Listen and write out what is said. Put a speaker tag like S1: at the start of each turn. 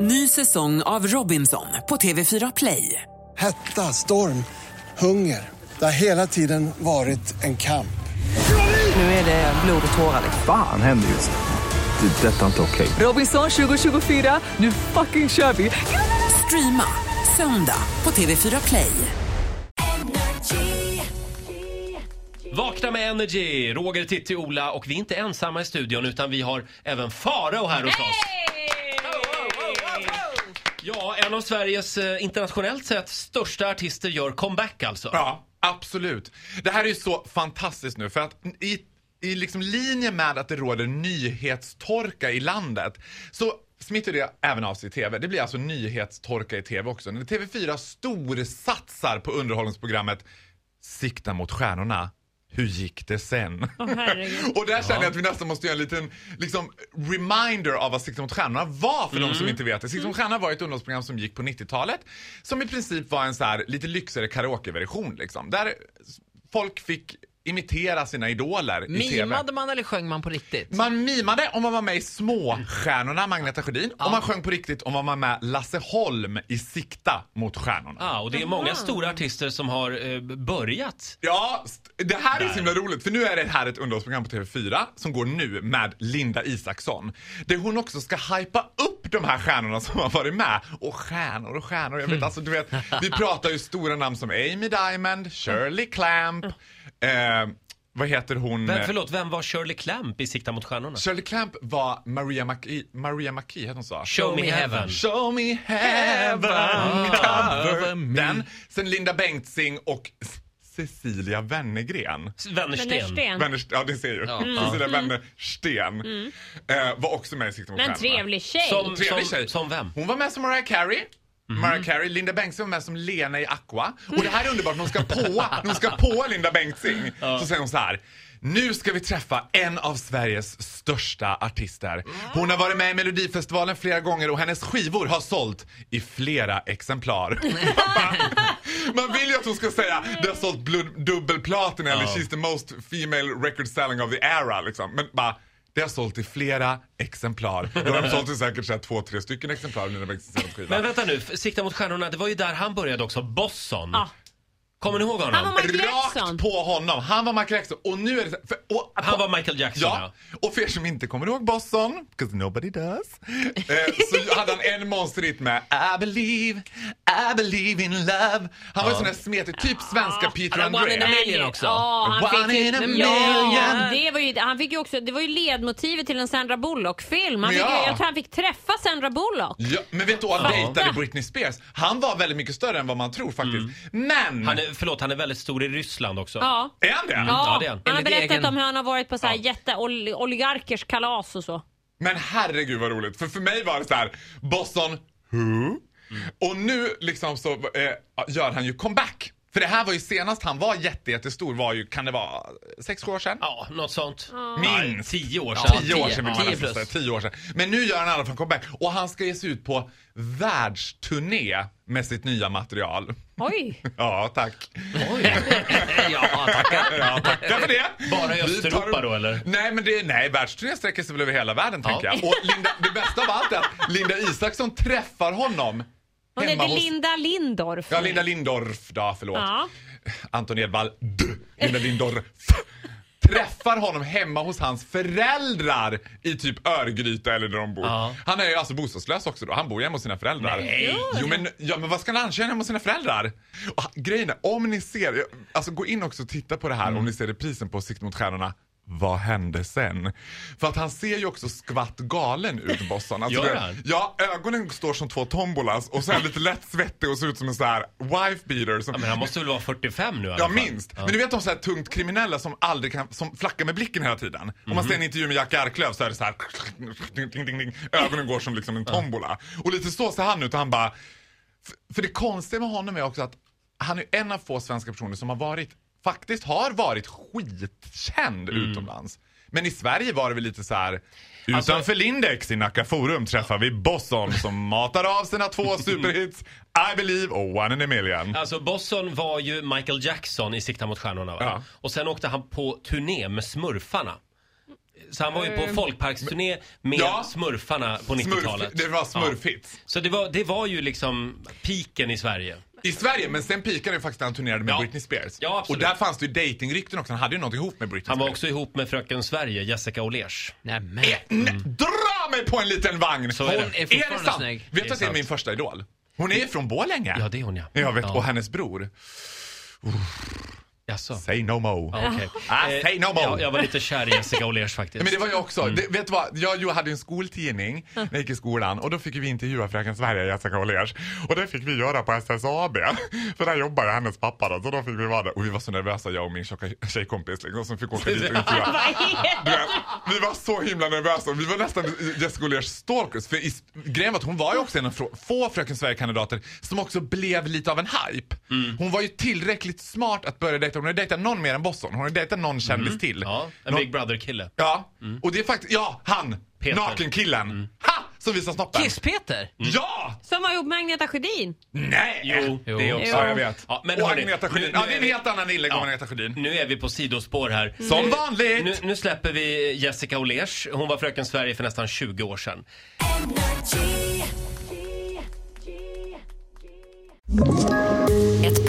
S1: Ny säsong av Robinson på TV4 Play.
S2: Hetta, storm, hunger. Det har hela tiden varit en kamp.
S1: Nu är det blod och tårar.
S3: Fan händer just nu. Det. är Detta är inte okej.
S1: Robinson 2024, nu fucking kör vi! Streama söndag på TV4 Play.
S4: Vakna med Energy! Roger, Titti, Ola och vi är inte ensamma i studion utan vi har även Farao här hos oss. Ja, en av Sveriges eh, internationellt sett största artister gör comeback alltså.
S5: Ja, absolut. Det här är ju så fantastiskt nu för att i, i liksom linje med att det råder nyhetstorka i landet så smittar det även av sig i TV. Det blir alltså nyhetstorka i TV också. När TV4 storsatsar på underhållningsprogrammet Sikta mot stjärnorna. Hur gick det sen? och där känner jag att vi nästan måste göra en liten liksom, reminder av vad Sikta mot stjärnorna var för de som inte vet det. Sikta
S6: Mm.
S5: mot stjärnorna var ett underhållsprogram som gick på 90-talet som i princip var en så här lite lyxigare karaokeversion liksom. Där folk fick imitera sina idoler i TV.
S6: Mimade man eller sjöng man på riktigt?
S5: Man mimade om man var med i Småstjärnorna, Magneta Sjödin. Och man sjöng på riktigt om man var med Lasse Holm i Sikta mot stjärnorna.
S4: Ja, och det är många stora artister som har eh, börjat.
S5: Ja, st- det här är så himla roligt för nu är det här ett underhållsprogram på TV4 som går nu med Linda Isaksson. Där hon också ska hypa upp de här stjärnorna som har varit med. Och stjärnor och stjärnor. Jag
S4: Mm.
S5: vet, alltså, du vet, vi pratar ju stora namn som Amy Diamond, Shirley Clamp, eh, vad heter hon?
S4: Mm. Vem, förlåt, vem var Shirley Clamp i Sikta mot stjärnorna?
S5: Shirley Clamp var Maria McKee, Maria McKee hette hon så?
S4: Show me heaven.
S5: Show me heaven, cover den. Sen Linda Bengtzing och S- Cecilia Wennergren.
S4: Wennersten.
S7: Wennersten.
S5: Wennerst- ja, det ser ju. Cecilia Wennersten eh, var också med i Sikte mot
S7: Mm. Men en
S5: stjärnorna.
S7: trevlig tjej.
S4: Som,
S5: Trevlig
S4: som,
S5: tjej.
S4: som vem?
S5: Hon var med som Mariah Carey. Mariah Carey, Linda Bengtzing var med som Lena i Aqua. Och det här är underbart, när hon ska påa, när hon ska påa Linda Bengtzing så säger hon så här. Nu ska vi träffa en av Sveriges största artister. Hon har varit med i Melodifestivalen flera gånger och hennes skivor har sålt i flera exemplar. Man vill ju att hon ska säga det har sålt blod- dubbelplatina eller she's the most female record selling of the era liksom. Men bara det har sålt i flera exemplar. Då har de sålt i säkert så här två, tre stycken exemplar av Nina Bengtzings senaste skiva.
S4: Men vänta nu, f- Sikta mot stjärnorna, det var ju där han började också, Bosson.
S7: Ja.
S4: Kommer ni ihåg
S7: Han var
S4: honom?
S7: Michael Jackson.
S5: Rakt på honom. Han var Michael Jackson. Och nu är det... så- För, och,
S4: Han var Michael Jackson, ja.
S5: Ja, och för er som inte kommer ihåg Boston, 'cause nobody does, eh, så hade han en monsterhit med I believe, I believe in love. Han var ju sån där smetig, typ svenska Peter
S6: Han var one in a
S5: André.
S6: million också.
S7: Ja, han
S5: One
S7: fick ju,
S5: in a
S7: ja,
S5: million.
S7: det var ju, han fick ju också, det var ju ledmotivet till en Sandra Bullock-film. Han fick,
S5: Ja.
S7: Jag tror han fick träffa Sandra Bullock.
S5: Ja, men vet du, han dejtade Britney Spears. Han var väldigt mycket större än vad man tror faktiskt. Men!
S4: Han är, förlåt, han är väldigt stor i Ryssland också.
S7: Ja.
S5: Är han det?
S4: ja, det är han.
S7: han har
S6: Enligt
S7: berättat
S6: egen-
S7: om hur han har varit på så här jätteoligarkers kalas och så.
S5: Men herregud vad roligt. För för mig var det så här, Boston who? Och nu liksom så eh, gör han ju comeback. För det här var ju senast han var jätte, jättestor var ju, kan det vara, sex, sju år sedan?
S4: Ja, något sånt.
S5: Minst.
S4: Tio år
S5: Ja,
S4: sedan.
S5: tio år sedan vill man
S6: tio
S5: nästan säga.
S6: plus.
S5: Tio år sedan. Men nu gör han i alla fall comeback. Och han ska ge sig ut på världsturné med sitt nya material.
S7: Oj!
S5: Ja, tack.
S6: ja, tackar.
S5: Ja, tackar för det.
S4: Bara
S5: Vi
S4: i
S5: tar
S4: Östeuropa
S5: upp-
S4: då, eller?
S5: Nej, men det, nej, världsturnén sträcker sig väl över hela världen tänker jag. Och Linda, det bästa av allt är att Linda Isaksson träffar honom
S7: Hon
S5: hemma
S7: heter
S5: hos...
S7: Linda Lindorff.
S5: Ja, Linda Lindorff då, förlåt.
S7: Ja.
S5: Anton Edwall, d, Linda Lindorff. Träffar honom hemma hos hans föräldrar i typ Örgryte eller där de bor.
S4: Ja.
S5: Han är ju alltså bostadslös också då. Han bor ju hemma hos sina föräldrar.
S4: Nej.
S5: Jo men, ja, men vad ska han köra hemma hos sina föräldrar? Och, ha- grejen är, om ni ser, jag- alltså gå in också och titta på det här
S4: Mm.
S5: om ni ser reprisen på Sikt mot stjärnorna. Vad hände sen? För att han ser ju också skvatt galen ut, Boston. Alltså,
S4: Gör
S5: det-
S4: han?
S5: Ja, ögonen står som två tombolas och så är han lite lätt svettig och ser ut som en sån här wife beater. Som,
S4: Men han måste väl vara 45 nu i alla
S5: Ja,
S4: fall.
S5: minst. Men du vet de så här tungt kriminella som aldrig kan, som flackar med blicken hela tiden. Om
S4: Mhm.
S5: man ser en intervju med Jack Arklöv så är det så här, ding, ding, ding, ding. ögonen går som liksom en tombola. Och lite så ser han ut och han bara, för- för det konstiga med honom är också att han är en av få svenska personer som har varit, faktiskt har varit skitkänd
S4: Mm.
S5: utomlands. Men i Sverige var det väl lite så här.
S4: Alltså-
S5: Utanför Lindex i Nacka Forum träffar vi Bosson som matar av sina två superhits I Believe och One in a Million.
S4: Alltså Bosson var ju Michael Jackson i Sikta mot stjärnorna va?
S5: Ja.
S4: Och sen åkte han på turné med Smurfarna. Så han var ju på folkparksturné med
S5: Ja.
S4: smurfarna på
S5: Smurf,
S4: 90-talet.
S5: det var
S4: Ja.
S5: smurfhits.
S4: Så det var, det var ju liksom piken i Sverige.
S5: I Sverige, men sen pikade det faktiskt när han turnerade med
S4: Ja.
S5: Britney Spears.
S4: Ja,
S5: och
S4: absolut.
S5: där fanns det ju dejtingrykten också, han hade ju något ihop med Britney
S4: Han var
S5: Spears.
S4: också ihop med fröken Sverige, Jessica Olers.
S6: Nämen.
S5: Nej, dra mig på en liten vagn!
S4: Mm. Så är det.
S5: Hon
S6: Är fortfarande
S5: det sant?
S6: snygg.
S5: Vet
S4: Det
S5: du
S4: är
S5: att det är
S4: sant.
S5: min första idol? Hon är ju från Borlänge.
S4: Ja, det är hon, ja.
S5: Jag vet,
S4: Ja.
S5: och hennes bror.
S4: Jaså?
S5: Say no mo.
S4: Ja, okej.
S5: Ah,
S4: Eh,
S5: say no more.
S4: Ja, jag var lite kär i Jessica Olers faktiskt.
S5: Nej, Men det var jag också.
S4: Mm.
S5: Det, vet du vad? Jag, jag hade ju en skoltidning när jag gick i skolan och då fick vi intervjua Fröken Sverige, Jessica Åhlérs. Och det fick vi göra på SSAB. För där jobbar ju hennes pappa då, så då fick vi vara där. Och vi var så nervösa jag och min tjocka tjejkompis liksom, som fick åka dit och intervjua. Du vet, vi var så himla nervösa. Vi var nästan Jessica Åhlérs stalkers. För i, grejen var att hon var ju också en av frå- få Fröken Sverige-kandidater som också blev lite av en hype.
S4: Mm.
S5: Hon var ju tillräckligt smart att börja dejta. Hon hade dejtat någon mer än Boston. Hon hade dejtat någon kändis till.
S4: Mm. Ja, en
S5: Någon-
S4: Big Brother-kille.
S5: Ja, och det är faktiskt, ja, han!
S4: Mm. Peter. Mm.
S5: Nakenkillen! Ha! Som visar snoppen.
S6: Kiss-Peter!
S5: Ja!
S7: Som var ihop med Agneta Sjödin.
S5: Nej!
S4: Jo,
S6: Jo.
S4: det är också.
S5: Eh, Ja, jag vet.
S4: Ja, men
S5: och
S4: hörni,
S5: Agneta
S4: nu-
S5: Sjödin.
S4: nu
S5: Ja, det Mm. är
S4: är
S5: en
S4: vi-
S5: helt annan inlägg om
S4: Ja.
S5: Agneta Sjödin.
S4: Nu är vi på sidospår här.
S5: Som
S4: Nu-
S5: vanligt!
S4: Nu, nu släpper vi Jessica Olers. Hon var Fröken Sverige för nästan 20 år sedan.
S8: Ett